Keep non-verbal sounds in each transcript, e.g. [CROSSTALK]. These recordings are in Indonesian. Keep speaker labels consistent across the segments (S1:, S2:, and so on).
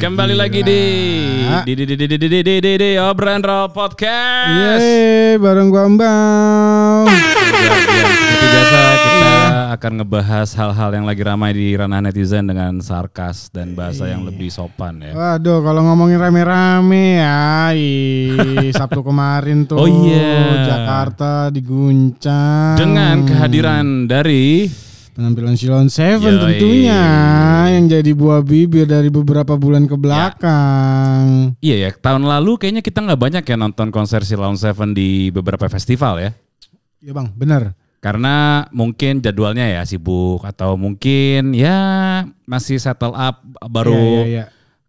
S1: Kembali lagi di di di di di di di di di di di obrolan Raw podcast.
S2: Yeay, bareng gua Mbak.
S1: Ya, ya, Seperti biasa kita akan ngebahas hal-hal yang lagi ramai di ranah netizen dengan sarkas dan bahasa yang lebih sopan ya.
S2: Waduh, kalau ngomongin rame-rame ya, ih, Sabtu kemarin tuh
S1: Oh, iya.
S2: Jakarta diguncang
S1: Dengan kehadiran dari
S2: penampilan Silon Seven
S1: Yoi.
S2: tentunya yang jadi buah bibir dari beberapa bulan ke belakang.
S1: Iya ya, tahun lalu kayaknya kita nggak banyak ya nonton konser si Lawn Seven di beberapa festival ya.
S2: Iya bang, benar.
S1: Karena mungkin jadwalnya ya sibuk atau mungkin ya masih settle up baru
S2: Iya, iya, iya.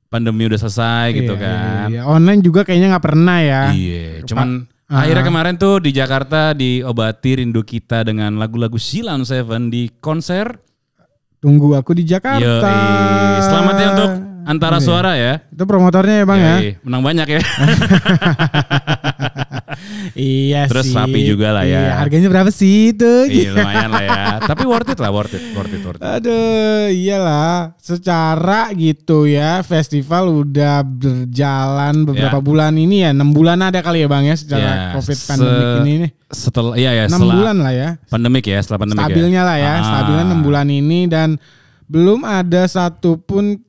S1: pandemi udah selesai gitu
S2: Iya,
S1: kan.
S2: iya, iya. Online juga kayaknya nggak pernah ya.
S1: Iya, cuman
S2: Ah.
S1: akhirnya kemarin tuh di Jakarta diobati rindu kita dengan lagu-lagu Silan Seven di konser.
S2: Tunggu aku di Jakarta.
S1: Yoi. Selamat ya untuk antara suara ya.
S2: Itu promotornya ya Iya. bang ya.
S1: Yoi, Menang banyak
S2: [LAUGHS]
S1: ya.
S2: Iya
S1: Terus
S2: sih.
S1: rapi juga lah ya.
S2: Iya, harganya berapa sih itu?
S1: Iya, lumayan lah ya. Tapi worth it lah, worth it, worth it, worth it.
S2: Aduh, iyalah. Secara gitu ya, festival udah berjalan beberapa
S1: Ya.
S2: bulan ini ya, enam bulan ada kali ya bang ya, secara
S1: Ya,
S2: covid
S1: se-
S2: pandemik ini nih.
S1: Setelah ya ya
S2: Enam
S1: setelah
S2: bulan lah ya,
S1: pandemik ya, setelah pandemik
S2: stabilnya
S1: ya.
S2: lah ya,
S1: Ah.
S2: stabilnya enam bulan ini dan belum ada satupun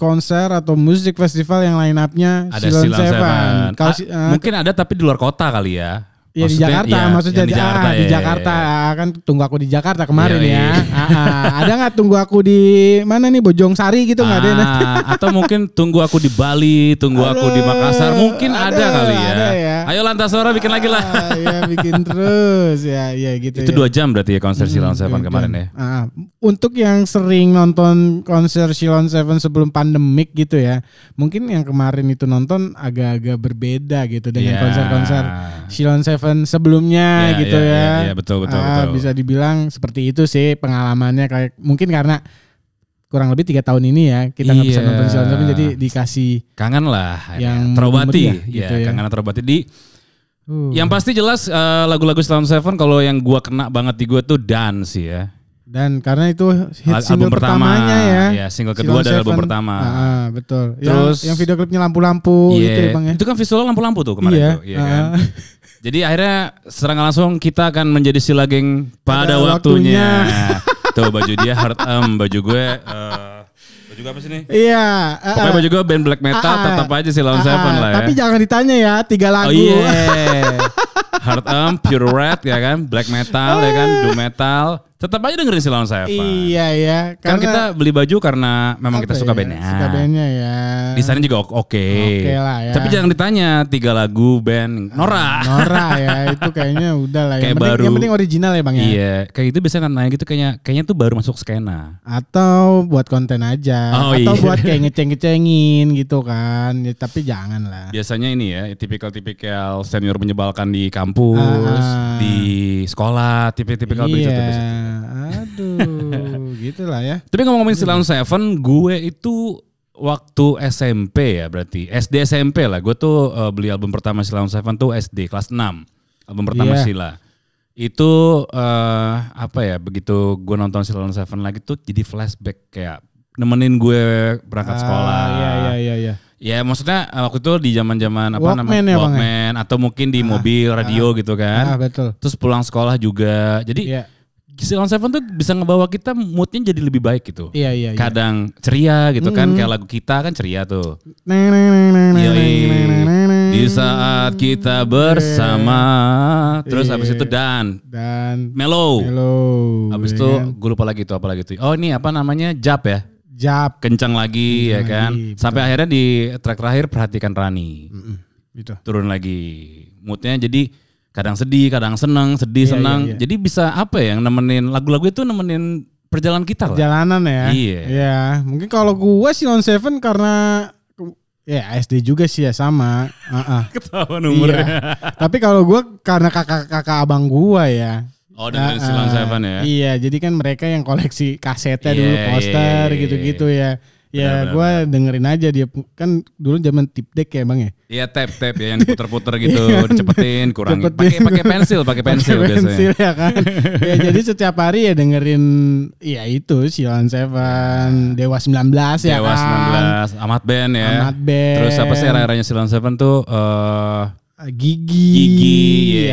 S2: konser atau musik festival yang line upnya
S1: Ada Silan Seven.
S2: Kalau
S1: Ah,
S2: si- eh,
S1: mungkin ada tapi di luar kota kali ya.
S2: Iya di
S1: Maksudnya,
S2: Jakarta,
S1: iya, Iya,
S2: maksudnya
S1: yang
S2: di Jakarta, di
S1: ya, ya,
S2: Jakarta
S1: ya.
S2: Ah, kan tunggu aku di Jakarta kemarin
S1: Yoi.
S2: ya. Ah, ah. ada nggak tunggu aku di mana nih Bojong Sari gitu nggak ada? nah? [LAUGHS]
S1: Ah, atau mungkin tunggu aku di Bali, tunggu aku di Makassar, mungkin ada,
S2: aduh,
S1: kali ya.
S2: ada ya.
S1: Ayo lantas suara bikin lagi lah.
S2: Ah, ya bikin terus ya, ya gitu.
S1: Itu
S2: ya.
S1: dua jam berarti ya konser Silon Seven kemarin ya.
S2: Ah, untuk yang sering nonton konser Silon Seven sebelum pandemik gitu ya, mungkin yang kemarin itu nonton agak-agak berbeda gitu dengan
S1: Ya.
S2: konser-konser Silon Seven sebelumnya
S1: Ya,
S2: gitu
S1: ya,
S2: ya.
S1: ya, ya, betul, betul,
S2: Ah,
S1: betul.
S2: Bisa dibilang seperti itu sih pengalamannya kayak mungkin karena kurang lebih tiga tahun ini ya kita nggak bisa
S1: Iya.
S2: nonton Silon Seven jadi dikasih
S1: Kangen lah,
S2: Yang
S1: ya. terobati,
S2: memori ya,
S1: ya,
S2: gitu ya.
S1: kangen terobati. Di
S2: uh,
S1: yang pasti jelas eh, lagu-lagu Silon Seven kalau yang gua kena banget di gua tuh Dan sih ya.
S2: dan karena itu hit
S1: Al-
S2: single
S1: album pertama,
S2: pertamanya ya.
S1: ya, single kedua
S2: Silon
S1: dan album
S2: Seven.
S1: pertama.
S2: Ah, ah, betul. Terus
S1: Terus-
S2: yang, video klipnya lampu-lampu
S1: Iya,
S2: gitu ya Bang ya.
S1: Itu kan visual lampu-lampu tuh kemarin
S2: Iya,
S1: tuh, iya kan?
S2: ah.
S1: Jadi akhirnya serangan langsung kita akan menjadi sila geng
S2: Pada
S1: pada, waktunya. tuh baju dia hard em, baju gue eh, baju gue apa sih nih?
S2: Iya. ah,
S1: Pokoknya
S2: ah.
S1: baju gue band black metal
S2: Ah, ah.
S1: tetap aja Silon
S2: Ah,
S1: Seven
S2: ah,
S1: lah ya.
S2: Tapi jangan ditanya ya tiga lagu.
S1: Oh iya. Hard Em, Pure Red ya kan, Black Metal ya kan, Doom Metal. Tetap aja dengerin Silon Seven.
S2: [LAUGHS] iya ya.
S1: Kan
S2: karena
S1: kita beli baju karena
S2: apa
S1: memang kita
S2: ya,
S1: suka bandnya.
S2: Suka bandnya ya.
S1: Desainnya juga oke.
S2: Oke lah ya.
S1: Tapi jangan ditanya tiga lagu band Nora.
S2: Nora ya itu kayaknya udah lah. ya. yang,
S1: Kayak
S2: penting,
S1: baru.
S2: yang penting original ya bang ya.
S1: Iya, kayak gitu biasanya nanya gitu kayaknya kayaknya tuh baru masuk
S2: Nah.
S1: skena.
S2: Atau buat konten aja.
S1: Oh,
S2: Atau
S1: iya.
S2: buat kayak ngeceng-ngecengin gitu kan. Ya, tapi jangan lah.
S1: Biasanya ini ya, tipikal-tipikal senior menyebalkan di kampus,
S2: Ah.
S1: di sekolah, tipikal-tipikal begitu tuh
S2: iya.
S1: biasanya.
S2: Aduh, [LAUGHS] gitu lah ya.
S1: Tapi ngomongin Silon Seven, gue itu waktu SMP ya berarti SD SMP lah. Gue tuh eh, beli album pertama Silon Seven tuh SD kelas 6 album pertama
S2: Iya.
S1: Sila. Itu eh, apa ya? Begitu gue nonton Silon Seven lagi tuh jadi flashback kayak nemenin gue berangkat sekolah.
S2: Ah, Iya iya iya iya.
S1: Ya maksudnya eh, waktu itu di zaman-zaman apa
S2: Walkman
S1: namanya
S2: ya, Bang, ya?
S1: Walkman atau mungkin di mobil radio gitu kan.
S2: Ah betul.
S1: Terus pulang sekolah juga. Jadi
S2: Iya.
S1: Silon Seven tuh bisa ngebawa kita moodnya jadi lebih baik gitu
S2: Iya iya iya.
S1: kadang ceria gitu kan kayak lagu kita kan ceria tuh
S2: Neng, neng, neng, neng, neng,
S1: Yoi.
S2: neng, neng, neng, neng. Iya.
S1: di saat kita bersama terus habis itu dan
S2: dan
S1: mellow
S2: hello
S1: habis
S2: iya.
S1: itu gue lupa lagi tuh apa lagi tuh oh ini apa namanya jap ya
S2: jap
S1: kencang lagi
S2: Iya,
S1: ya kan sampai akhirnya di track terakhir perhatikan Rani
S2: gitu
S1: turun lagi moodnya jadi kadang sedih kadang seneng
S2: Iya,
S1: sedih seneng jadi bisa apa ya yang nemenin lagu-lagu itu nemenin perjalanan kita lah
S2: jalanan ya
S1: Iya.
S2: Iya. mungkin kalau gua sih non seven karena ya SD juga sih ya sama Ah, ah.
S1: ketahuan
S2: Iya.
S1: umurnya
S2: tapi kalau gua karena kakak-kakak abang gua ya
S1: oh dengerin
S2: ah.
S1: Silon Seven ya
S2: Iya, jadi kan mereka yang koleksi kasetnya
S1: Iya,
S2: dulu
S1: iya,
S2: poster
S1: iya, iya.
S2: gitu-gitu ya. Ya gue dengerin aja dia pu- kan dulu zaman tip deck ya bang ya.
S1: Iya tap tap ya yang diputer-puter gitu, dicepetin,
S2: Iya.
S1: kurangin.
S2: Cepetin.
S1: Pakai pakai pensil, pakai pensil
S2: Pakai
S1: biasanya.
S2: pensil ya
S1: [LAUGHS]
S2: kan. ya jadi setiap hari ya dengerin ya itu Silon Seven, Dewa 19 ya
S1: Iya. Dewa
S2: kan.
S1: 19, Amat Band ya.
S2: Ahmad Band.
S1: Terus apa sih era-eranya Silon Seven tuh eh
S2: Gigi.
S1: Gigi,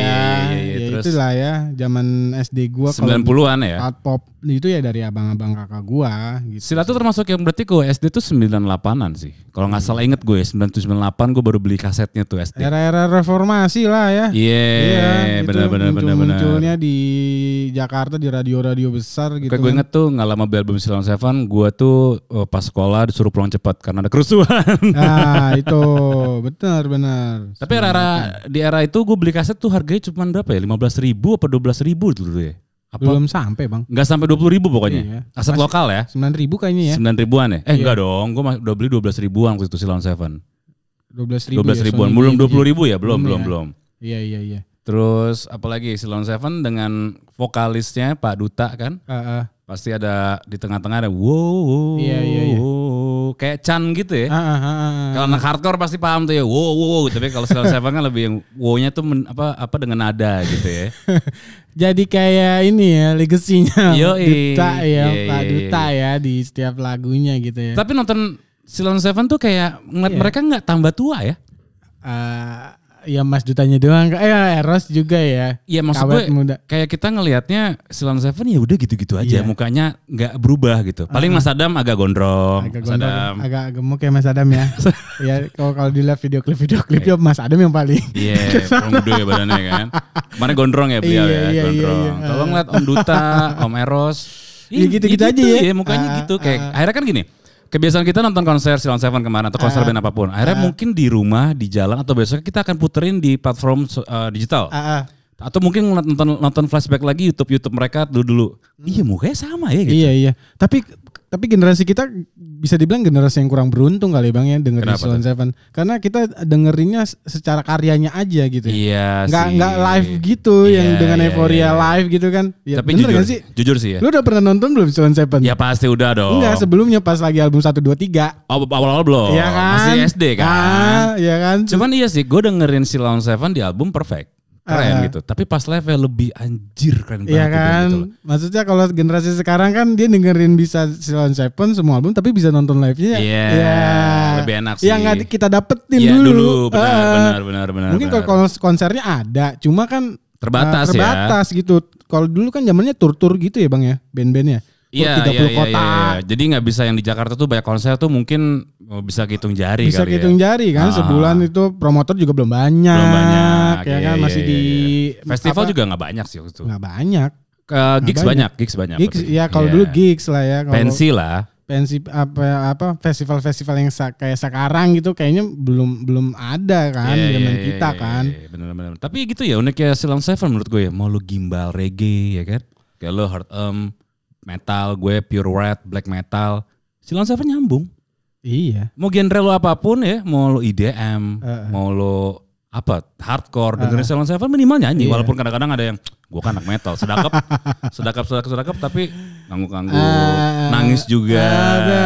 S2: ya.
S1: iya, iya, iya,
S2: ya
S1: terus-
S2: itulah ya zaman SD gua kalau
S1: 90-an ya.
S2: art pop itu ya dari abang-abang kakak gua gitu.
S1: Sila tuh termasuk yang berarti gue SD tuh 98-an sih. Kalau nggak salah inget gue 9798 gue baru beli kasetnya tuh SD. Iya,
S2: Era-era reformasi lah ya. itu
S1: benar benar benar benar.
S2: Munculnya di Jakarta di radio-radio besar gitu.
S1: Kayak gue
S2: kan.
S1: inget tuh nggak lama beli album Silon Seven, gue tuh eh, pas sekolah disuruh pulang cepat karena ada
S2: [LAUGHS]
S1: kerusuhan.
S2: Nah, itu benar benar.
S1: Tapi era-era di era itu gue beli kaset tuh harganya cuma berapa ya? 15 ribu apa 12 ribu dulu ya? Apa?
S2: Belum sampai, Bang.
S1: Nggak sampai 20 ribu pokoknya.
S2: Iya.
S1: Aset lokal ya.
S2: 9.000 kayaknya ya.
S1: 9 ribuan ya? Eh enggak dong, gue udah beli 12 ribuan waktu itu Silon Seven.
S2: 12.000.
S1: 12
S2: ya,
S1: ribuan,
S2: Sony
S1: belum
S2: Bridge.
S1: 20 ribu ya? Belum,
S2: Belum
S1: belum,
S2: ya.
S1: belum.
S2: Iya, iya, iya.
S1: Terus apalagi Silon Seven dengan vokalisnya Pak Duta kan?
S2: Heeh.
S1: Pasti ada di tengah-tengah ada wow, wow,
S2: Iya, iya, iya.
S1: wow. kayak Chan gitu ya.
S2: Heeh, heeh.
S1: Kalau anak hardcore pasti paham tuh ya wow wow, wow. tapi kalau Silon Seven kan lebih yang wow-nya tuh men- apa apa dengan nada gitu ya.
S2: [LAUGHS] Jadi kayak ini ya legasinya
S1: Yoi.
S2: Duta ya,
S1: Iya,
S2: Pak
S1: iya,
S2: Duta ya di setiap lagunya gitu ya.
S1: Tapi nonton Silon Seven tuh kayak
S2: Iya.
S1: ngeliat mereka nggak tambah tua ya.
S2: Eh, ya Mas Dutanya doang. Eh Eros juga ya.
S1: Iya maksud
S2: Kawet
S1: gue
S2: muda.
S1: kayak kita ngelihatnya Silon Seven ya udah gitu-gitu aja
S2: Iya.
S1: mukanya nggak berubah gitu. Paling Mas Adam agak gondrong.
S2: Agak
S1: Mas
S2: gondrong,
S1: Adam.
S2: agak gemuk ya Mas Adam
S1: [LAUGHS]
S2: ya. ya kalau kalau dilihat video klip video klip ya Mas Adam yang paling.
S1: Iya, orang gede ya badannya kan. Kemarin gondrong ya beliau
S2: Iya,
S1: ya,
S2: iya,
S1: gondrong.
S2: iya, iya.
S1: Kalau ngeliat Om Duta, Om Eros,
S2: [LAUGHS] Ya
S1: ih,
S2: gitu-gitu aja ya.
S1: mukanya
S2: Ah,
S1: gitu kayak akhirnya kan gini. Kebiasaan kita nonton konser Silon Seven kemarin atau
S2: Ah.
S1: konser band apapun. Akhirnya mungkin di rumah, di jalan atau besok kita akan puterin di platform eh, digital.
S2: Ah, ah.
S1: Atau mungkin ngeliat- nonton nonton flashback lagi YouTube YouTube mereka dulu dulu. Iya mukanya sama ya gitu.
S2: Hmm. Iya iya. Tapi tapi generasi kita bisa dibilang generasi yang kurang beruntung kali ya, Bang ya dengerin
S1: Kenapa
S2: Silon Seven. Karena kita dengerinnya s- secara karyanya aja gitu. ya.
S1: Iya
S2: Nggak
S1: sih.
S2: nggak live gitu yang
S1: Iya,
S2: dengan
S1: iya,
S2: euforia
S1: iya, iya.
S2: live gitu kan. Ya,
S1: Tapi
S2: bener
S1: jujur,
S2: nggak sih?
S1: jujur sih ya.
S2: Lu udah pernah nonton belum Silon Seven?
S1: Ya pasti udah dong.
S2: Enggak, sebelumnya pas lagi album 1 2 3.
S1: Oh, Awal-awal belum.
S2: Iya kan?
S1: Masih SD kan.
S2: Ah, iya kan?
S1: Cuman iya sih, gue dengerin si Lawn Seven di album Perfect. Keren
S2: Ah.
S1: gitu. Tapi pas live ya lebih anjir keren banget.
S2: Iya
S1: gitu,
S2: kan?
S1: gitu loh.
S2: Maksudnya kalau generasi sekarang kan dia dengerin bisa Silon Seven semua album tapi bisa nonton live-nya.
S1: Iya, lebih enak sih.
S2: Yang nggak di- kita dapetin
S1: Iya
S2: dulu.
S1: dulu, benar,
S2: Ah,
S1: benar, benar, benar.
S2: Mungkin
S1: benar.
S2: kalau kalau konsernya ada, cuma kan
S1: Nah,
S2: ah,
S1: Terbatas ya.
S2: terbatas gitu. Kalau dulu kan zamannya tur-tur gitu ya Bang ya, band-bandnya. Tur
S1: Iya,
S2: 30
S1: iya, iya,
S2: kota.
S1: iya, iya. Jadi nggak bisa yang di Jakarta tuh banyak konser tuh mungkin oh, bisa hitung jari
S2: Bisa
S1: kali
S2: hitung
S1: ya.
S2: jari kan
S1: Ah.
S2: sebulan itu promotor juga belum banyak.
S1: Belum banyak.
S2: Ya
S1: iya,
S2: kan
S1: iya,
S2: masih
S1: iya,
S2: di
S1: iya. festival
S2: apa,
S1: juga nggak banyak sih waktu itu.
S2: nggak banyak.
S1: Eh, gigs
S2: banyak.
S1: banyak. gigs banyak.
S2: Gigs
S1: waktu itu.
S2: ya kalau
S1: Iya.
S2: dulu gigs lah ya kalau
S1: pensi lah.
S2: pensi apa apa festival-festival yang sa- kayak sekarang gitu kayaknya belum belum ada kan
S1: Iya,
S2: zaman
S1: iya, iya,
S2: kita
S1: iya,
S2: kan.
S1: iya, bener, bener. Tapi gitu ya uniknya Silon Seven menurut gue ya. Mau lu gimbal reggae ya kan. Kayak lo hard um, metal, gue pure red, black metal. Silon Seven nyambung.
S2: Iya.
S1: Mau genre lo apapun ya, mau lo IDM, mau lo apa hardcore dengerin Silon Seven minimal nyanyi
S2: Iya.
S1: walaupun kadang-kadang ada yang gue kan anak metal sedakap sedakap sedakap sedakap tapi ngangguk-ngangguk
S2: Ah,
S1: nangis juga
S2: Ada.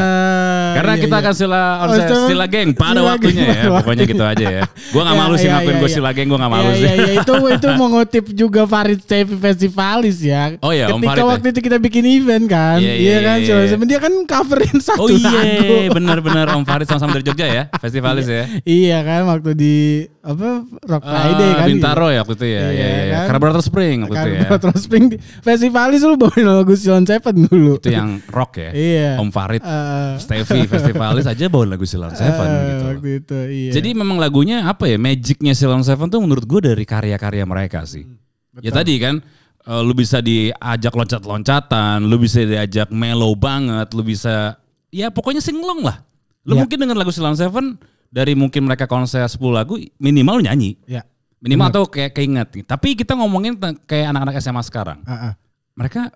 S1: karena
S2: Iya,
S1: kita
S2: iya.
S1: akan sila on-
S2: Oh, seven.
S1: sila geng pada
S2: Sila
S1: waktunya
S2: geng
S1: ya.
S2: pada
S1: Pokoknya gitu aja ya. Gua nggak
S2: Iya,
S1: malu sih
S2: iya,
S1: ngakuin
S2: iya,
S1: gue
S2: iya.
S1: sila geng, gua nggak malu
S2: Iya,
S1: sih.
S2: iya, iya. itu itu mengutip juga Farid Sefi Festivalis ya.
S1: Oh iya, Om Farid
S2: Ketika
S1: ya.
S2: waktu itu kita bikin event kan,
S1: Iya,
S2: iya,
S1: iya,
S2: kan,
S1: iya,
S2: Silon
S1: iya.
S2: Seven. dia kan coverin [LAUGHS] satu
S1: Oh
S2: lagu.
S1: iya, benar-benar Om Farid sama-sama dari Jogja ya, festivalis ya.
S2: Iya kan waktu di apa Rock Friday
S1: Eh,
S2: kan.
S1: Bintaro ya waktu itu ya. Iya,
S2: Iya,
S1: iya, iya.
S2: kan?
S1: Karburator Spring waktu itu
S2: Kan
S1: ya.
S2: terus Spring di- Festivalis lu bawain lagu Silon Seven dulu.
S1: Itu yang rock ya.
S2: Iya.
S1: Om Farid,
S2: Eh,
S1: Stevie festivalis aja bawain lagu Silon Seven
S2: eh,
S1: gitu.
S2: Waktu itu iya.
S1: Jadi memang lagunya apa ya? Magicnya Silon Seven tuh menurut gue dari karya-karya mereka sih.
S2: Hmm,
S1: Ya tadi kan eh, lu bisa diajak loncat-loncatan, lu bisa diajak mellow banget, lu bisa ya pokoknya singlong lah. Lu
S2: Ya.
S1: mungkin denger lagu Silon Seven dari mungkin mereka konser 10 lagu minimal lu nyanyi.
S2: ya.
S1: Minimal atau kayak keinget. gitu. Tapi kita ngomongin tentang kayak anak-anak SMA sekarang.
S2: ah, ah,
S1: Mereka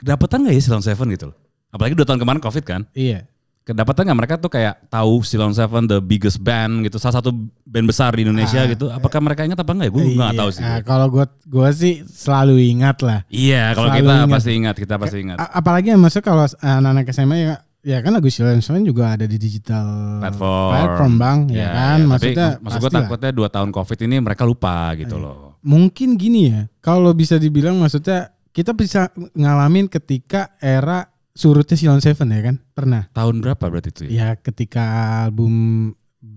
S1: kedapatan gak ya Silon Seven gitu loh. Apalagi dua tahun kemarin Covid kan
S2: Iya.
S1: kedapatan nggak mereka tuh kayak tahu Silon Seven the biggest band gitu salah satu band besar di Indonesia gitu apakah mereka ingat apa enggak ya gue nggak
S2: Ah, Iya.
S1: tahu sih
S2: Ah, kalau gua gua sih selalu ingat lah.
S1: iya kalau
S2: selalu
S1: kita
S2: ingat.
S1: pasti ingat kita pasti ingat
S2: A- apalagi yang masuk kalau anak-anak SMA ya ya kan lagu Silent Silent juga ada di digital
S1: Platform.
S2: bang ya, kan
S1: Iya, tapi
S2: maksudnya Ah,
S1: maksud gue
S2: pastilah.
S1: takutnya dua tahun covid ini mereka lupa gitu
S2: iya.
S1: loh.
S2: mungkin gini ya kalau bisa dibilang maksudnya kita bisa ngalamin ketika era surutnya Silent Seven ya kan pernah
S1: Tahun berapa berarti itu? Ya?
S2: ya ketika album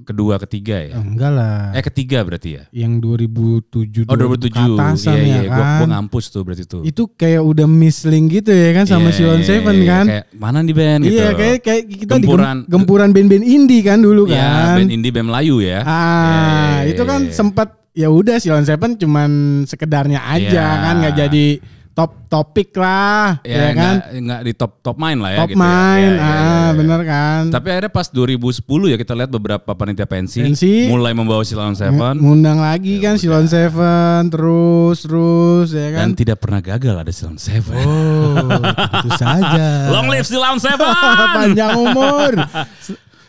S1: Kedua ketiga ya?
S2: eh, enggak lah
S1: Eh ketiga berarti ya?
S2: yang 2007
S1: Oh 2007
S2: ke atasan
S1: iya,
S2: ya
S1: iya.
S2: kan
S1: Gua, gua ngampus tuh berarti tuh.
S2: itu kayak udah misling gitu ya kan sama
S1: Iya,
S2: Silent
S1: iya,
S2: Seven
S1: iya.
S2: kan
S1: Kayak mana nih band gitu.
S2: iya kayak kayak kita di gem-
S1: Gempuran.
S2: gempuran band-band indie kan dulu
S1: Ya,
S2: kan
S1: band indie band Melayu ya.
S2: Ah,
S1: Iya,
S2: itu
S1: iya,
S2: kan
S1: iya.
S2: sempat ya udah Silent Seven cuman sekedarnya aja
S1: Iya.
S2: kan nggak jadi top topik lah, ya,
S1: ya,
S2: kan?
S1: nggak- nggak di top top main lah ya
S2: top
S1: gitu ya.
S2: main,
S1: Ya,
S2: ah,
S1: ya, ya, ya.
S2: bener kan?
S1: Tapi akhirnya pas 2010 ya kita lihat beberapa panitia pensi,
S2: Pensi.
S1: mulai membawa Silent
S2: Ng-
S1: Seven Ya
S2: ngundang lagi kan Silent Seven terus terus ya
S1: dan
S2: kan?
S1: tidak pernah gagal ada Silent Seven.
S2: Oh, iya. itu saja.
S1: Long live Silent Seven.
S2: [LAUGHS] Panjang umur.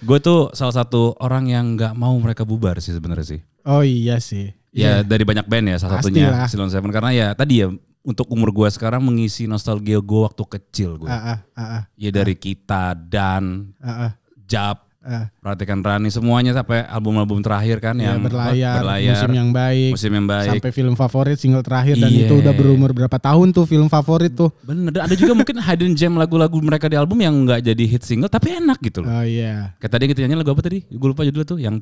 S1: Gue tuh salah satu orang yang nggak mau mereka bubar sih sebenarnya sih.
S2: Oh iya sih.
S1: Ya dari banyak band ya salah
S2: Pastilah.
S1: satunya Silent Seven karena ya tadi ya untuk umur gue sekarang mengisi nostalgia gue waktu kecil gue.
S2: Ah, ah, ah, ah,
S1: Ya dari kita dan
S2: ah, ah,
S1: Jap,
S2: ah.
S1: perhatikan Rani semuanya sampai album-album terakhir kan
S2: Ya,
S1: yang
S2: berlayar,
S1: berlayar,
S2: musim yang baik.
S1: musim yang baik.
S2: Sampai film favorit single terakhir dan
S1: Iya.
S2: itu udah berumur berapa tahun tuh film favorit tuh?
S1: Bener, dan ada juga mungkin hidden gem lagu-lagu mereka di album yang nggak jadi hit single tapi enak gitu loh.
S2: Oh iya.
S1: Kayak tadi yang kita nyanyi lagu apa tadi? Gue lupa judulnya tuh. Yang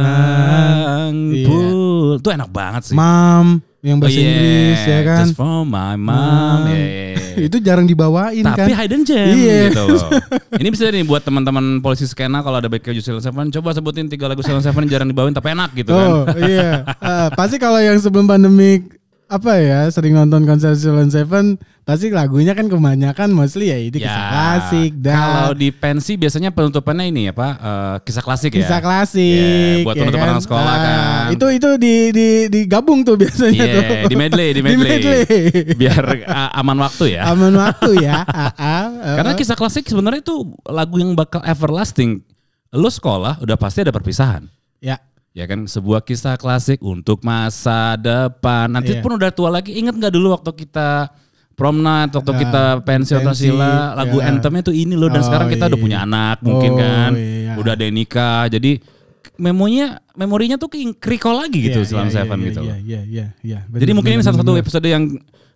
S1: pulang,
S2: Iya.
S1: pul. Itu enak banget sih.
S2: Mam yang bahasa
S1: Oh, yeah,
S2: Inggris ya kan. [LAUGHS]
S1: Just for my
S2: Mam.
S1: mom. Yeah, yeah,
S2: [LAUGHS]
S1: yeah.
S2: itu jarang dibawain kan.
S1: Tapi hidden gem
S2: Iya.
S1: gitu loh. Ini bisa nih buat teman-teman polisi skena kalau ada back Juice Silent Seven, coba sebutin tiga lagu Silent Seven yang jarang dibawain tapi enak gitu kan.
S2: Oh iya. Eh, pasti kalau yang sebelum pandemik apa ya sering nonton konser Silent Seven pasti lagunya kan kebanyakan mostly ya itu kisah klasik dan
S1: Kalau di pensi biasanya penutupannya ini ya Pak, eh, kisah klasik ya.
S2: kisah klasik
S1: Iya, buat penutupan anak sekolah
S2: Ah,
S1: kan.
S2: itu itu di di digabung tuh biasanya
S1: Iya,
S2: tuh
S1: di medley, di medley.
S2: Gitu. medley.
S1: Biar eh, aman waktu ya.
S2: aman waktu
S1: [LAUGHS]
S2: ya Ah, ah, ah.
S1: Karena kisah klasik sebenarnya itu lagu yang bakal everlasting. Lo sekolah udah pasti ada perpisahan.
S2: ya
S1: Ya kan sebuah kisah klasik untuk masa depan. Nanti
S2: Iya.
S1: pun udah tua lagi ingat nggak dulu waktu kita prom night, waktu
S2: Ah,
S1: kita pensi atau
S2: pensi,
S1: sila, lagu
S2: ya.
S1: anthemnya tuh ini loh dan
S2: Oh,
S1: sekarang kita udah
S2: iya.
S1: punya anak mungkin
S2: Oh,
S1: kan.
S2: iya.
S1: Udah ada yang nikah. Jadi memonya memorinya tuh kerikol lagi gitu
S2: Iya,
S1: Silent
S2: iya,
S1: Seven
S2: iya,
S1: gitu
S2: iya,
S1: loh.
S2: iya, iya, iya.
S1: Jadi
S2: Bener,
S1: mungkin ini
S2: bener,
S1: salah satu
S2: bener.
S1: episode yang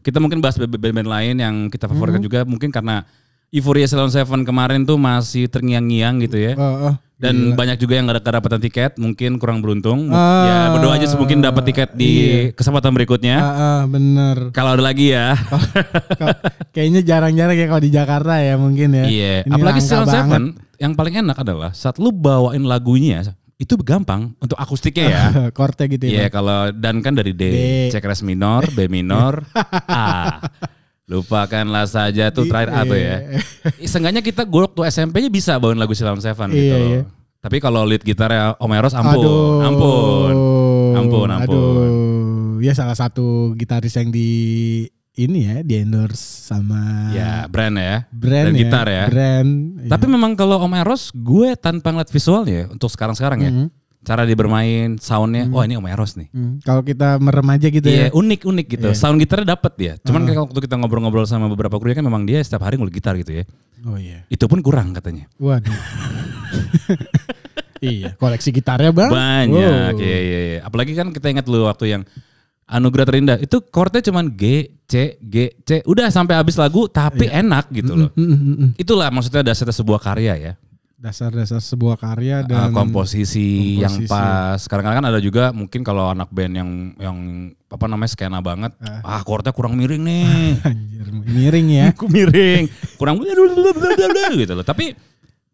S1: kita mungkin bahas band-band lain yang
S2: Mhm.
S1: kita favoritkan juga mungkin karena Euphoria Salon Seven kemarin tuh masih terngiang-ngiang gitu ya.
S2: Oh, oh.
S1: Dan banyak juga yang gak kedapatan tiket, mungkin kurang beruntung. ya
S2: Ah, Iya.
S1: berdoa aja mungkin dapat tiket di kesempatan berikutnya.
S2: Ah, ah,
S1: [LAUGHS]
S2: bener.
S1: Kalau ada lagi ya.
S2: Kal- Kayaknya jarang-jarang ya kalau di Jakarta ya mungkin ya.
S1: Iya,
S2: Ini
S1: apalagi
S2: langka
S1: Salon
S2: banget.
S1: Seven yang paling enak adalah saat lu bawain lagunya itu gampang untuk akustiknya ya.
S2: [LAUGHS] Korte gitu ya.
S1: Iya kalau dan kan dari D,
S2: D.
S1: C keras minor, B minor,
S2: [LAUGHS]
S1: A. Lupakanlah
S2: Iya.
S1: saja tuh terakhir A tuh ya. Seenggaknya kita gue waktu SMP-nya bisa bawain lagu Silent Seven gitu.
S2: Iya, iya.
S1: Tapi kalau lead gitarnya Om Eros ampun, ampun. Ampun, ampun.
S2: Aduh. Ya salah satu gitaris yang di ini ya, di endorse sama
S1: Ya brand ya.
S2: brand
S1: dan
S2: ya.
S1: gitar ya.
S2: Brand. iya.
S1: Tapi memang kalau Om Eros gue tanpa ngeliat visualnya untuk sekarang-sekarang ya.
S2: Mhm.
S1: Cara dia bermain, soundnya,
S2: Mm-hmm.
S1: wah ini Om Eros nih.
S2: Hmm, kalau kita merem aja gitu ya.
S1: Iya unik-unik gitu. Sound gitarnya dapat ya.
S2: Uh-huh.
S1: Cuman kayak waktu kita ngobrol-ngobrol sama beberapa kru kan memang dia setiap hari ngulik gitar gitu ya.
S2: Oh iya.
S1: Itu pun kurang katanya.
S2: Waduh. [LAUGHS] iya, koleksi gitarnya Bang. Wow.
S1: Banyak. Iya, iya, iya. Apalagi kan kita ingat dulu waktu yang Anugerah Terindah itu chordnya cuman G, C, G, C. Udah sampai habis lagu tapi enak gitu loh.
S2: Hmm, hmm, hmm.
S1: Itulah maksudnya dasar sebuah karya ya.
S2: Dasar-dasar sebuah karya
S1: Uh,
S2: dan
S1: komposisi,
S2: komposisi.
S1: yang pas. Kadang-kadang kan ada juga mungkin kalau anak band yang yang apa namanya skena banget, ah chordnya kurang miring
S2: [LAUGHS]
S1: nih.
S2: Anjir, miring ya.
S1: Ku miring, kurang gitu loh. Tapi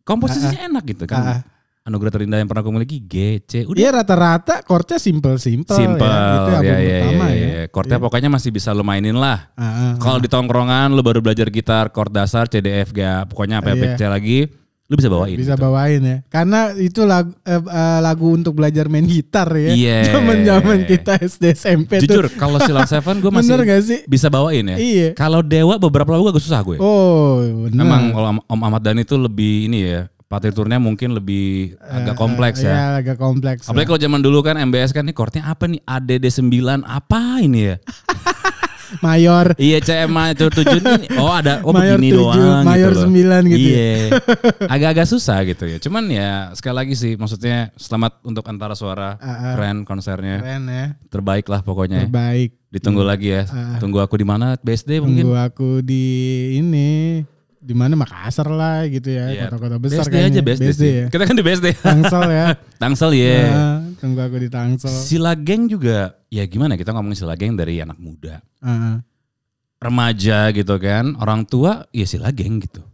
S1: komposisinya
S2: Ah,
S1: enak gitu kan. Anugerah Terindah yang pernah aku miliki G, C. Udah
S2: Dia Iya, rata-rata chordnya simple-simple.
S1: Simple,
S2: ya. Itu
S1: ya,
S2: album
S1: ya, ya,
S2: pertama
S1: ya,
S2: ya.
S1: ya. Chordnya pokoknya masih bisa lu mainin lah.
S2: Ah, ah.
S1: Kalau di tongkrongan lu baru belajar gitar, chord dasar, C, D, F, G, pokoknya apa, ya,
S2: Iya.
S1: C lagi, lu bisa bawain.
S2: Bisa
S1: gitu.
S2: bawain ya. Karena itu lagu, eh, eh, lagu untuk belajar main gitar ya.
S1: Iya.
S2: [LAUGHS] Zaman-zaman kita SD SMP
S1: Jujur,
S2: tuh.
S1: kalau Silent Seven gue
S2: [LAUGHS]
S1: masih
S2: Bener gak sih?
S1: bisa bawain ya.
S2: Iya.
S1: Kalau Dewa beberapa lagu agak susah gue.
S2: Oh, bener.
S1: Emang kalau Om- Om Ahmad Dhani itu lebih ini ya, partiturnya mungkin lebih agak kompleks ya.
S2: Iya, agak kompleks.
S1: Apalagi kalau zaman dulu kan MBS kan nih chordnya apa nih ADD 9 apa ini ya?
S2: mayor
S1: Iya CM Mayor 7 ini oh ada oh
S2: Mayor
S1: begini
S2: 7,
S1: doang
S2: Mayor
S1: gitu loh.
S2: 9 gitu ya. [LAUGHS]
S1: Iya. Agak-agak susah gitu ya. Cuman ya sekali lagi sih maksudnya selamat untuk antara suara
S2: Ah, ah.
S1: keren Iya. konsernya.
S2: keren ya.
S1: Terbaik lah pokoknya.
S2: Terbaik. Ah.
S1: Ditunggu lagi ya. Tunggu aku di mana BSD mungkin.
S2: Tunggu aku di ini di mana Makassar lah gitu ya,
S1: Iya.
S2: kota-kota besar
S1: BSD
S2: kayaknya.
S1: aja BSD,
S2: BSD
S1: sih.
S2: ya.
S1: Kita kan di BSD.
S2: Tangsel
S1: [LAUGHS]
S2: ya.
S1: Tangsel ya.
S2: Ah, tunggu aku di Tangsel.
S1: Sila geng juga ya gimana kita ngomongin sila geng dari anak muda.
S2: Ah, ah.
S1: Remaja gitu kan. Orang tua ya sila geng gitu.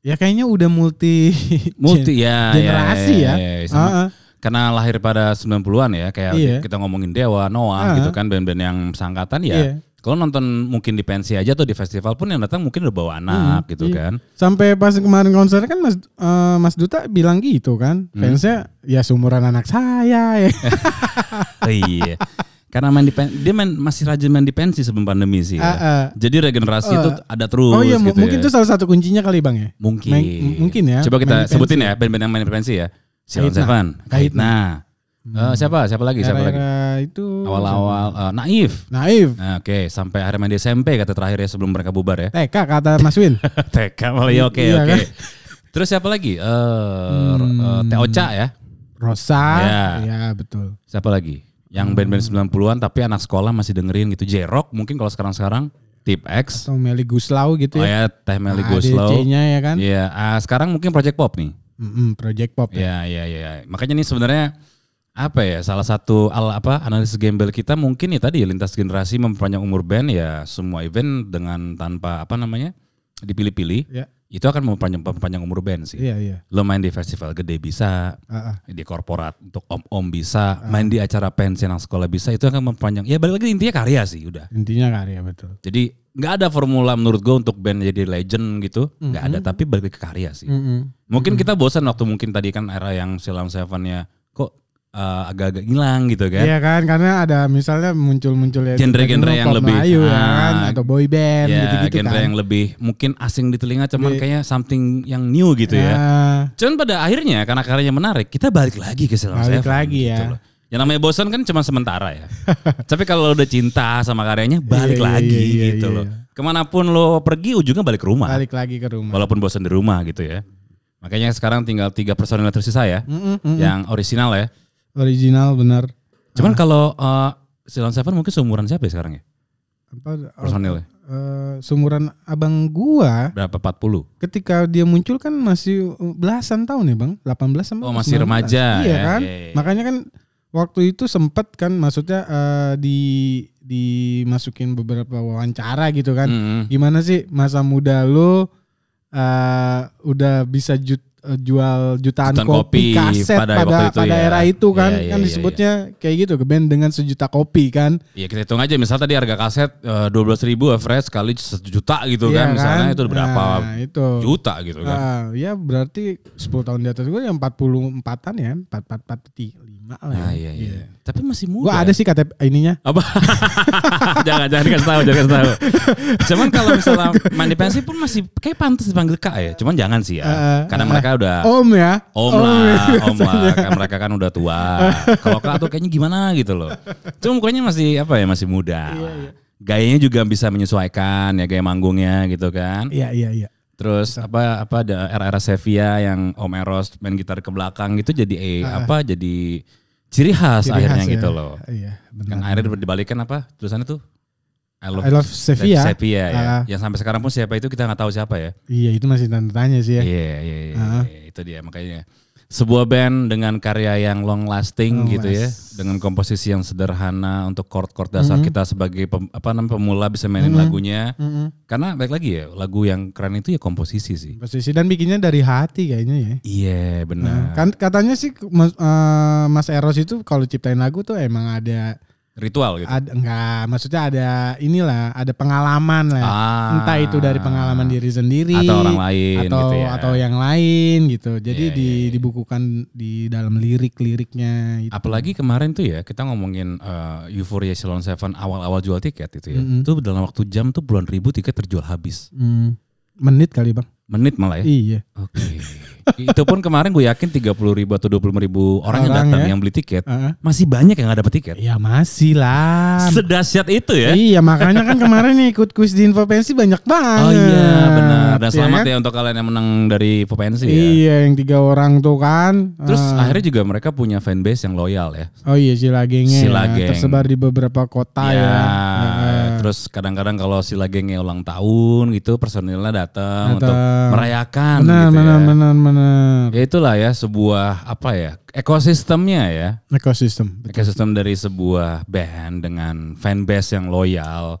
S2: Ya kayaknya udah multi
S1: [LAUGHS] Multi ya. ya,
S2: generasi ya.
S1: ya, ya, sama.
S2: Ah, ah.
S1: karena lahir pada 90-an ya kayak
S2: Iya.
S1: kita ngomongin Dewa, Noah
S2: Ah.
S1: gitu kan band-band yang sangkatan ya.
S2: Iya.
S1: Kalau nonton mungkin di pensi aja atau di festival pun yang datang mungkin udah bawa anak
S2: iya.
S1: gitu
S2: [LAUGHS]
S1: kan.
S2: Sampai pas kemarin konser kan Mas eh, Mas Duta bilang gitu kan.
S1: Hmm.
S2: Fansnya ya seumuran anak saya ya.
S1: Oh, iya. Karena main di pen- dia main masih rajin main di pensi sebelum pandemi
S2: Ah,
S1: sih. Ya.
S2: ah.
S1: Jadi regenerasi itu ada terus
S2: Oh iya mu-
S1: gitu
S2: mungkin
S1: ya.
S2: itu salah satu kuncinya kali Bang ya.
S1: mungkin.
S2: main- m- mungkin ya,
S1: Coba
S2: main
S1: kita
S2: di
S1: sebutin ya band-band yang main di pensi ya. Silent
S2: Kahitna.
S1: Seven,
S2: Kahitna.
S1: Kahitna.
S2: Hmm.
S1: Eh, siapa? Siapa lagi? Siapa lagi?
S2: Era-era itu
S1: Awal-awal eh, Naif.
S2: Naif.
S1: Nah, Oke, sampai akhirnya main di SMP kata terakhir ya sebelum mereka bubar
S2: [LAUGHS]
S1: ya.
S2: TK Eh, kata Mas Win.
S1: [LAUGHS] TK malah ya oke
S2: Iya
S1: oke.
S2: kan? Hmm.
S1: Terus siapa lagi? Eh eh, Teh Oca ya.
S2: Rosa.
S1: Ya.
S2: Ya, betul.
S1: Siapa lagi? Yang
S2: Hmm.
S1: band-band 90-an tapi anak sekolah masih dengerin gitu. J-Rock mungkin kalau sekarang-sekarang Tip X.
S2: Atau Meli Guslau gitu
S1: Oh
S2: ya.
S1: ya Teh Meli
S2: ADC
S1: Guslow.
S2: nya ya kan.
S1: Iya, ah, sekarang mungkin Project Pop nih.
S2: Mm-mm, Project Pop. ya.
S1: Iya, iya, iya. Makanya nih sebenarnya apa ya salah satu al apa analisis gembel kita mungkin ya tadi lintas generasi memperpanjang umur band ya semua event dengan tanpa apa namanya dipilih-pilih
S2: Ya.
S1: itu akan memperpanjang, memperpanjang umur band sih.
S2: Iya, iya.
S1: Lo main di festival gede bisa,
S2: Ah, ah.
S1: di korporat untuk om-om bisa, main di acara pensi anak sekolah bisa, itu akan memperpanjang. Ya balik lagi intinya karya sih udah.
S2: Intinya karya betul.
S1: Jadi nggak ada formula menurut gue untuk band jadi legend gitu, nggak
S2: Mhm.
S1: ada. Tapi balik lagi ke karya sih.
S2: Mm-mm.
S1: Mungkin kita bosan waktu mungkin tadi kan era yang Silam Seven ya, kok eh, agak-agak hilang gitu kan?
S2: Iya kan karena ada misalnya muncul-muncul ya
S1: Genre-genre
S2: techno,
S1: yang
S2: pop
S1: lebih,
S2: Melayu ya
S1: ah,
S2: kan atau boy band
S1: Ya,
S2: gitu-gitu
S1: genre
S2: kan. Iya.
S1: yang lebih mungkin asing di telinga, cuman kayaknya something yang new gitu ya.
S2: Ah,
S1: Cuman pada akhirnya karena karyanya menarik, kita balik lagi ke Silent
S2: Balik
S1: Seven gitu
S2: lagi ya.
S1: loh. Yang namanya bosan kan cuma sementara
S2: [LAUGHS]
S1: ya. Tapi kalau lo udah cinta sama karyanya, balik
S2: Iya, iya,
S1: lagi
S2: iya,
S1: gitu
S2: iya,
S1: loh.
S2: iya.
S1: Kemanapun lo pergi, ujungnya balik ke rumah.
S2: balik lagi ke rumah.
S1: Walaupun bosan di rumah gitu ya. Makanya sekarang tinggal tiga personil yang tersisa ya,
S2: Mm-mm, mm-mm.
S1: yang original ya.
S2: Original benar. Ah.
S1: Cuman kalau uh, Silent Seven mungkin seumuran siapa ya sekarang ya?
S2: Apa oh,
S1: Personilnya
S2: eh, sumuran abang gua
S1: berapa? 40.
S2: ketika dia muncul kan masih belasan tahun ya, Bang. 18 sama
S1: Oh, masih
S2: 19.
S1: remaja
S2: Iya
S1: ya,
S2: kan?
S1: iya, iya.
S2: Makanya kan waktu itu sempat kan maksudnya eh, di dimasukin beberapa wawancara gitu kan.
S1: Mm-mm.
S2: gimana sih masa muda lu eh, udah bisa ju- eh, jual jutaan
S1: Jutaan
S2: kopi,
S1: kopi
S2: kaset
S1: pada
S2: pada pada,
S1: waktu itu ya.
S2: era itu kan
S1: Iya, iya,
S2: kan
S1: iya,
S2: disebutnya kayak gitu ke band dengan sejuta kopi kan
S1: Ya kita hitung aja misal tadi harga kaset eh, dua belas ribu average kali sejuta gitu
S2: Iya
S1: kan misalnya itu udah berapa
S2: Nah, itu
S1: juta gitu kan?
S2: Ah, ya berarti 10 tahun di atas ya gue yang 44-an ya 44 45 lah ya.
S1: Ah, iya, iya. Tapi masih muda.
S2: Gue ada sih KTP ininya.
S1: Apa? [LAUGHS] jangan jangan kasih tahu, jangan kasih tahu. Cuman kalau misalnya mandi pensi pun masih kayak pantas dipanggil Kak ya. Cuman jangan sih ya.
S2: Ah,
S1: Karena mereka udah
S2: Om ya. [LAUGHS]
S1: Om lah, om
S2: iya.
S1: lah. Kan mereka kan udah tua. Kalau kak tuh kayaknya gimana gitu loh. Cuma mukanya masih apa ya, masih muda.
S2: Iya,
S1: Gayanya juga bisa menyesuaikan ya gaya manggungnya gitu kan.
S2: Iya iya iya.
S1: Terus apa apa ada era-era Sevilla yang Om Eros main gitar ke belakang gitu jadi eh, apa jadi ciri khas
S2: Ciri
S1: akhirnya
S2: khas ya.
S1: gitu loh.
S2: Iya, benar.
S1: Yang akhirnya dibalikan apa tulisannya tuh? I
S2: I love Sevilla.
S1: Sevilla ya.
S2: Ah.
S1: Yang sampai sekarang pun siapa itu kita nggak tahu siapa ya.
S2: Iya, itu masih tanda tanya sih ya.
S1: Iya, iya, iya, iya. itu dia makanya sebuah band dengan karya yang long lasting
S2: Long
S1: gitu ya,
S2: last. Mm-hmm.
S1: dengan komposisi yang sederhana untuk chord-chord dasar kita sebagai pem- apa namanya pemula bisa mainin lagunya.
S2: Mm-mm.
S1: Karena balik lagi ya, lagu yang keren itu ya komposisi sih.
S2: Posisi dan bikinnya dari hati kayaknya ya.
S1: Iya, benar.
S2: Kan katanya sih Mas, eh, Mas Eros itu kalau ciptain lagu tuh emang ada
S1: Ritual gitu.
S2: ada enggak maksudnya ada inilah ada pengalaman lah.
S1: Ah.
S2: Entah itu dari pengalaman diri sendiri
S1: Atau orang lain
S2: atau
S1: gitu ya.
S2: atau yang lain gitu. Jadi
S1: Iya,
S2: di,
S1: iya, iya.
S2: dibukukan di dalam lirik-liriknya gitu.
S1: Apalagi kemarin tuh ya kita ngomongin eh, Euphoria Salon Seven awal-awal jual tiket itu ya.
S2: Mm-mm.
S1: Itu dalam waktu jam tuh puluhan ribu tiket terjual habis.
S2: Hmm, menit kali, Bang.
S1: Menit malah ya.
S2: Iya.
S1: Oke. Itu pun kemarin gue yakin 30 ribu atau 25 ribu orang, yang
S2: Orang
S1: datang
S2: ya.
S1: yang beli tiket.
S2: Heeh.
S1: Masih banyak yang gak dapet tiket.
S2: Ya masih lah.
S1: Sedahsyat itu ya.
S2: Iya makanya kan kemarin nih ikut kuis di Infopensi banyak banget.
S1: Oh iya benar. Dan
S2: Ya
S1: selamat
S2: kan?
S1: ya, untuk kalian yang menang dari Popensi ya.
S2: Iya yang tiga orang tuh kan.
S1: Terus
S2: Ah.
S1: akhirnya juga mereka punya fanbase yang loyal ya.
S2: Oh iya Silagengnya
S1: Silageng.
S2: ya, tersebar di beberapa kota ya.
S1: ya.
S2: Heeh.
S1: Terus kadang-kadang kalau si gengnya ulang tahun gitu personilnya datang untuk
S2: Datang.
S1: merayakan
S2: Benar,
S1: gitu
S2: benar,
S1: ya.
S2: benar, benar.
S1: Ya itulah ya sebuah apa ya ekosistemnya ya
S2: Ekosistem.
S1: ekosistem dari sebuah band dengan fanbase yang loyal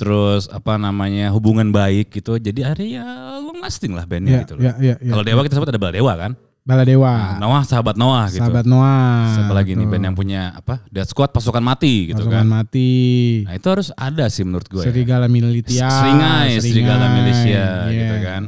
S1: terus apa namanya hubungan baik gitu jadi akhirnya ya long lasting lah
S2: Ya,
S1: bandnya gitu loh.
S2: ya, ya, ya.
S1: Kalau Dewa kita sempat ada Bala Dewa kan
S2: Baladewa,
S1: Noah sahabat Noah gitu
S2: sahabat Noah.
S1: siapa lagi nih band yang punya apa Death Squad pasukan mati gitu
S2: Pasukan
S1: kan
S2: mati.
S1: nah itu harus ada sih menurut gue ya.
S2: Serigala Militia.
S1: Seringai, serigala Malaysia
S2: Iya.
S1: gitu kan.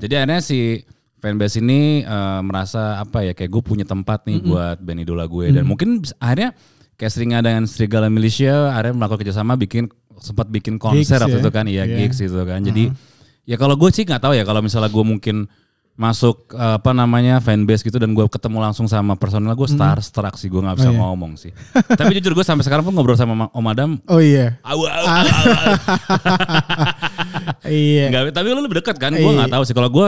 S1: Jadi akhirnya si fanbase ini eh, merasa apa ya kayak gue punya tempat nih buat band idola gue dan mungkin bis- akhirnya kayak Seringai dengan serigala Malaysia akhirnya melakukan kerjasama bikin sempat bikin konser
S2: Gigs ya.
S1: waktu itu kan, iya
S2: Iya.
S1: gigs gitu kan. Jadi ya kalau gue sih nggak tahu ya kalau misalnya gue mungkin masuk eh, apa namanya fanbase gitu dan gue ketemu langsung sama personal gue star struck sih gue nggak
S2: Oh, iya.
S1: bisa ngomong sih tapi jujur gue sampai sekarang pun ngobrol sama Ma- om
S2: [LAUGHS]
S1: Adam
S2: Oh iya.
S1: awu, awu, awu, awu.
S2: Iya.
S1: Nggak, tapi lu lebih dekat kan? Gue nggak tahu sih. Kalau gue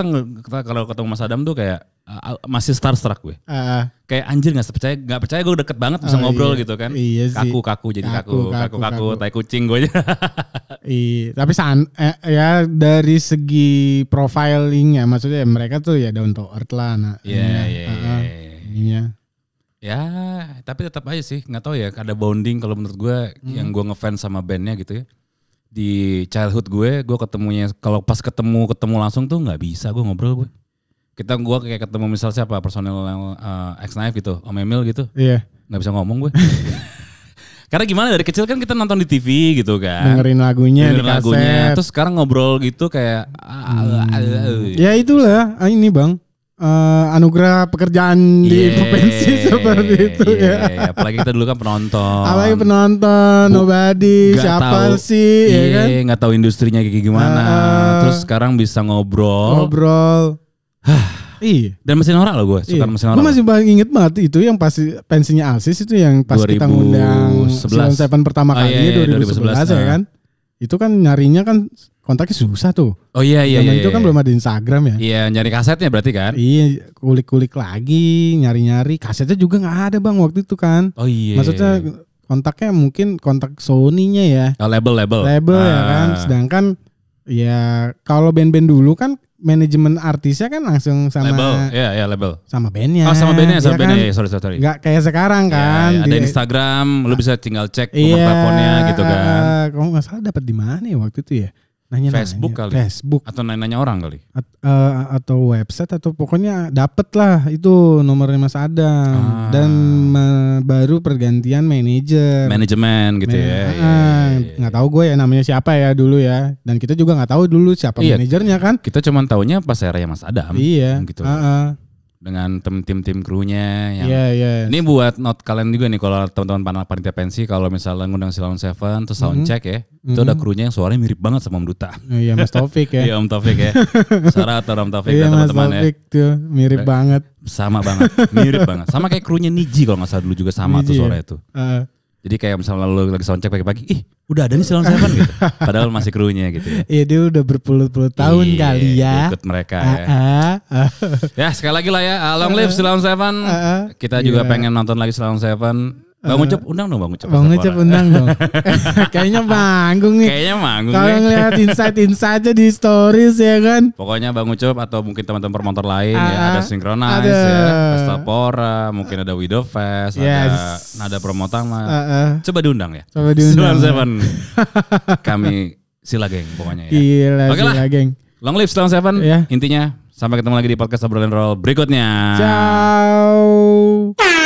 S1: kalau ketemu Mas Adam tuh kayak uh, masih starstruck gue.
S2: Ah,
S1: Kayak anjir nggak percaya, nggak percaya gue deket banget bisa
S2: Oh,
S1: ngobrol
S2: iya.
S1: gitu kan?
S2: Iya sih.
S1: kaku kaku jadi
S2: Kaku,
S1: kaku kaku kaku,
S2: kaku, kaku.
S1: tai kucing gue aja.
S2: Iya, tapi san eh, ya dari segi profilingnya maksudnya mereka tuh ya down to earth lah nah.
S1: Iya [LAUGHS]
S2: ininya,
S1: iya
S2: ah,
S1: iya.
S2: ah, ininya.
S1: Ya tapi tetap aja sih nggak tahu ya ada bonding kalau menurut gue yang gue ngefans sama bandnya gitu ya di childhood gue gue ketemunya kalau pas ketemu ketemu langsung tuh nggak bisa gue ngobrol gue kita gue kayak ketemu misal siapa personel uh, X Knife gitu Om Emil gitu
S2: Iya,
S1: nggak bisa ngomong gue. [LAUGHS] Karena gimana dari kecil kan kita nonton di TV gitu kan.
S2: dengerin lagunya
S1: Dengerin
S2: di kaset.
S1: Terus sekarang ngobrol gitu kayak ah, ah, ah, ah.
S2: Ya itulah ah, ini Bang. Eh, anugerah pekerjaan di
S1: Yeah,
S2: provinsi [LAUGHS]
S1: Iya,
S2: seperti itu
S1: yeah,
S2: ya.
S1: yeah. iya, Apalagi kita dulu kan penonton.
S2: Apalagi penonton, nobody,
S1: Nggak
S2: siapa
S1: tahu,
S2: sih ya
S1: iya,
S2: kan?
S1: nggak tahu industrinya kayak gimana.
S2: Ah.
S1: Terus sekarang bisa ngobrol.
S2: Ngobrol. Iya.
S1: Dan mesin norak loh gue, suka
S2: Iya.
S1: mesin
S2: Gue
S1: norak.
S2: masih banget inget banget itu yang pas pensinya Alsis itu yang pas kita ngundang
S1: 2011.
S2: Seven pertama
S1: Oh,
S2: kali
S1: iya, iya,
S2: 2011,
S1: 2011,
S2: ya kan. Itu kan nyarinya kan kontaknya susah tuh.
S1: Oh iya nah. iya
S2: Zaman
S1: iya.
S2: itu kan belum ada Instagram ya.
S1: Iya, nyari kasetnya berarti kan?
S2: Iya, kulik-kulik lagi, nyari-nyari. Kasetnya juga nggak ada bang waktu itu kan.
S1: Oh iya.
S2: Maksudnya kontaknya mungkin kontak Sony-nya ya,
S1: Oh, label label.
S2: label ya
S1: Ah.
S2: kan. Sedangkan ya kalau band-band dulu kan manajemen artisnya kan langsung sama
S1: label. Iya iya label.
S2: sama bandnya.
S1: Oh sama bandnya, sama
S2: ya
S1: bandnya.
S2: kan?
S1: Iya, Sorry sorry. sorry.
S2: nggak kayak sekarang
S1: Ya,
S2: kan
S1: ada
S2: di-
S1: Instagram, lu bisa tinggal cek nomor
S2: iya,
S1: teleponnya gitu kan.
S2: eh, kamu nggak salah dapat di mana ya waktu itu ya nanya
S1: Facebook kali.
S2: Facebook
S1: Atau nanya-nanya orang kali.
S2: at- eh, atau website atau pokoknya dapet lah itu nomornya Mas Adam
S1: Ah.
S2: dan me- baru pergantian manajer
S1: Manajemen gitu ya.
S2: Ah,
S1: Iya, iya, iya.
S2: nggak tahu gue ya namanya siapa ya dulu ya dan kita juga nggak tahu dulu siapa
S1: Iya.
S2: manajernya kan
S1: Kita cuman taunya pas era ya Mas Adam
S2: iya
S1: gitu.
S2: Ah, ah.
S1: dengan tim-tim-tim krunya yang
S2: iya iya
S1: Ini buat note kalian juga nih kalau teman-teman panel panitia pensi kalau misalnya ngundang Silon Seven
S2: Mhm.
S1: terus sound check ya, itu ada krunya yang suaranya mirip banget sama Om Duta.
S2: Oh, iya Mas Taufik ya
S1: [LAUGHS] Iya Om Taufik
S2: [LAUGHS]
S1: ya. Sarah atau Om Taufik
S2: iya
S1: dan
S2: Mas
S1: teman-teman ya.
S2: Taufik tuh mirip banget
S1: Sama banget, mirip banget. Sama kayak krunya Niji kalau nggak salah dulu juga sama tuh
S2: Niji ya?
S1: suaranya tuh.
S2: Ah.
S1: Jadi kayak misalnya lu lagi soundcheck pagi-pagi, ih udah ada nih Silon Seven
S2: [LAUGHS]
S1: gitu. Padahal masih krunya gitu ya.
S2: Iya dia udah berpuluh-puluh tahun
S1: Iya,
S2: kali ya.
S1: Ikut mereka ya.
S2: Ah, ah.
S1: Ya sekali lagi lah ya, uh, long live Silon Seven.
S2: ah.
S1: Kita
S2: Uh-uh.
S1: juga
S2: Iya. Uh-uh.
S1: pengen nonton lagi Silon Seven. Bang Ucup, undang dong Bang Ucup.
S2: Bang Ucup
S1: Setiap orang.
S2: undang
S1: [LAUGHS]
S2: dong. Kayaknya manggung nih.
S1: Kayaknya manggung
S2: Kalau
S1: nih.
S2: ngeliat insight-insight aja di stories ya kan.
S1: Pokoknya Bang Ucup atau mungkin teman-teman promotor lain ya
S2: Ah,
S1: ada
S2: ah.
S1: Synchronize
S2: Ada.
S1: ya, Pestapora, mungkin ada Widow Fest, ada
S2: Yes.
S1: Nada Promotama.
S2: Ah, ah.
S1: Coba diundang ya.
S2: Coba diundang.
S1: Silon Seven. Kami sila geng pokoknya ya.
S2: Gila
S1: Oke
S2: gila,
S1: lah.
S2: geng.
S1: Long live Silon Seven.
S2: Iya.
S1: Ah. Intinya sampai ketemu lagi di podcast obrolan roll berikutnya.
S2: Ciao.